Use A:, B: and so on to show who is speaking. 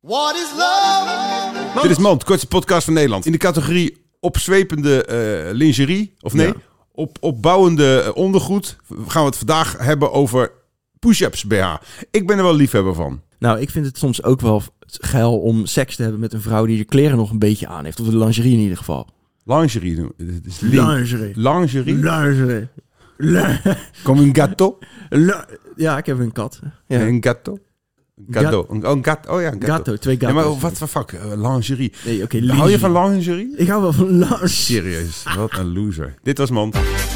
A: What is love?
B: Dit is Mand, kortste podcast van Nederland. In de categorie opzwepende eh, lingerie, of nee,
C: Ja.
B: op, opbouwende eh, ondergoed... gaan we het vandaag hebben over push-ups BH. Ik ben er wel liefhebber van.
C: Nou, ik vind het soms ook wel geil om seks te hebben met een vrouw die de kleren nog een beetje aan heeft. Of de lingerie in ieder geval.
B: Lingerie. doen. Het is link.
C: Lingerie.
B: Lingerie.
C: Lingerie. Li-
B: Kom een gatto.
C: li- Ja, ik heb een kat. Ja.
B: Een gatto. Een gatto. Een- Oh, een gat- oh ja, een gatto.
C: Gatto, twee
B: Ja,
C: gatto's.
B: maar wat voor fuck? eh, lingerie.
C: Nee, oké.
B: Hou je
C: lingerie.
B: van lingerie?
C: Ik hou wel van lingerie.
B: Serieus, wat een loser. Dit was Mand.